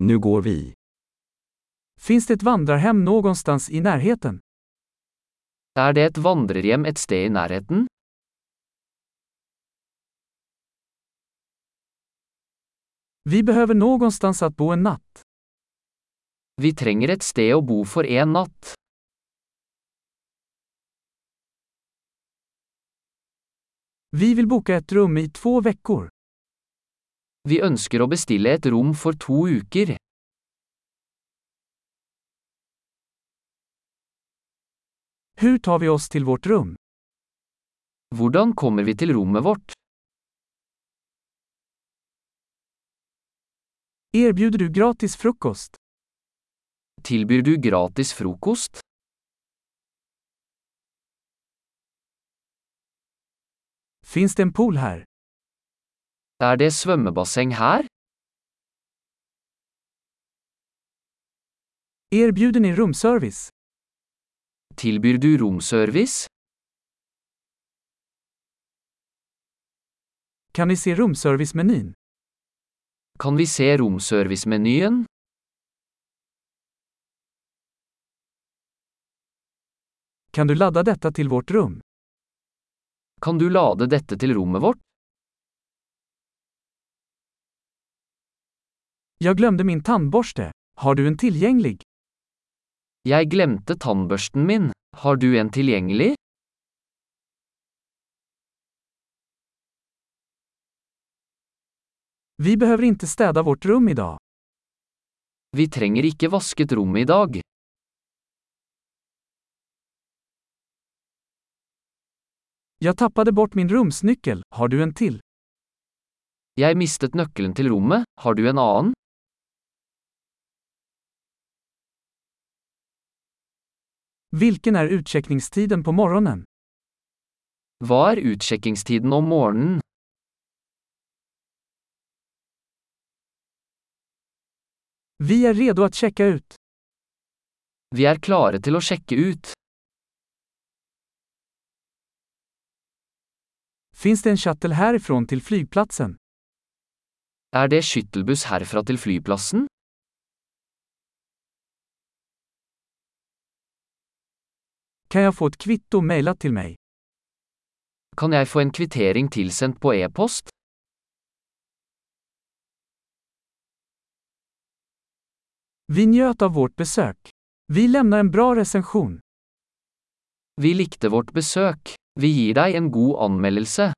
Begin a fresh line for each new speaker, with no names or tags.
Nu går vi.
Finns det ett vandrarhem någonstans i närheten?
Er det et vandrerhjem et sted i nærheten?
Vi behöver någonstans att bo en natt.
Vi trenger et sted å bo for en natt.
Vi vill boka ett rum i två veckor.
Vi ønsker å bestille et rom for to uker.
Hur tar vi oss till vårt rum?
Hvordan kommer vi til rommet vårt?
Erbjuder du gratis frukost?
Tilbyr du gratis frokost?
Finns det en pool här?
Er det svømmebasseng her?
Erbjuder ni rumservice?
Tilbyr du romservice?
Kan ni se rumservice-menyn?
Kan vi se romservice-menyen?
Kan du ladda detta till vårt rum?
Kan du lade dette til rommet vårt?
Jag glömde min tandborste. Har du en tillgänglig?
Jeg glemte tannbørsten min. Har du en tilgjengelig?
Vi behöver inte städa vårt rum idag.
Vi trenger ikke vasket rommet i dag.
Jag tappade bort min rumsnyckel. Har du en till?
Jeg mistet nøkkelen til rommet. Har du en annen?
Vilken är utcheckningstiden på morgonen?
Hva er utsjekkingstiden om morgenen?
Vi är redo att checka ut.
Vi er klare til å sjekke ut.
Finns det en shuttle härifrån till flygplatsen?
Er det skyttelbuss herfra til flyplassen?
Kan jag få ett kvitto mejlat till mig?
Kan jeg få en kvittering tilsendt på e-post?
Vi njöt av vårt besök. Vi lämnar en bra recension.
Vi likte vårt besøk. Vi gir deg en god anmeldelse.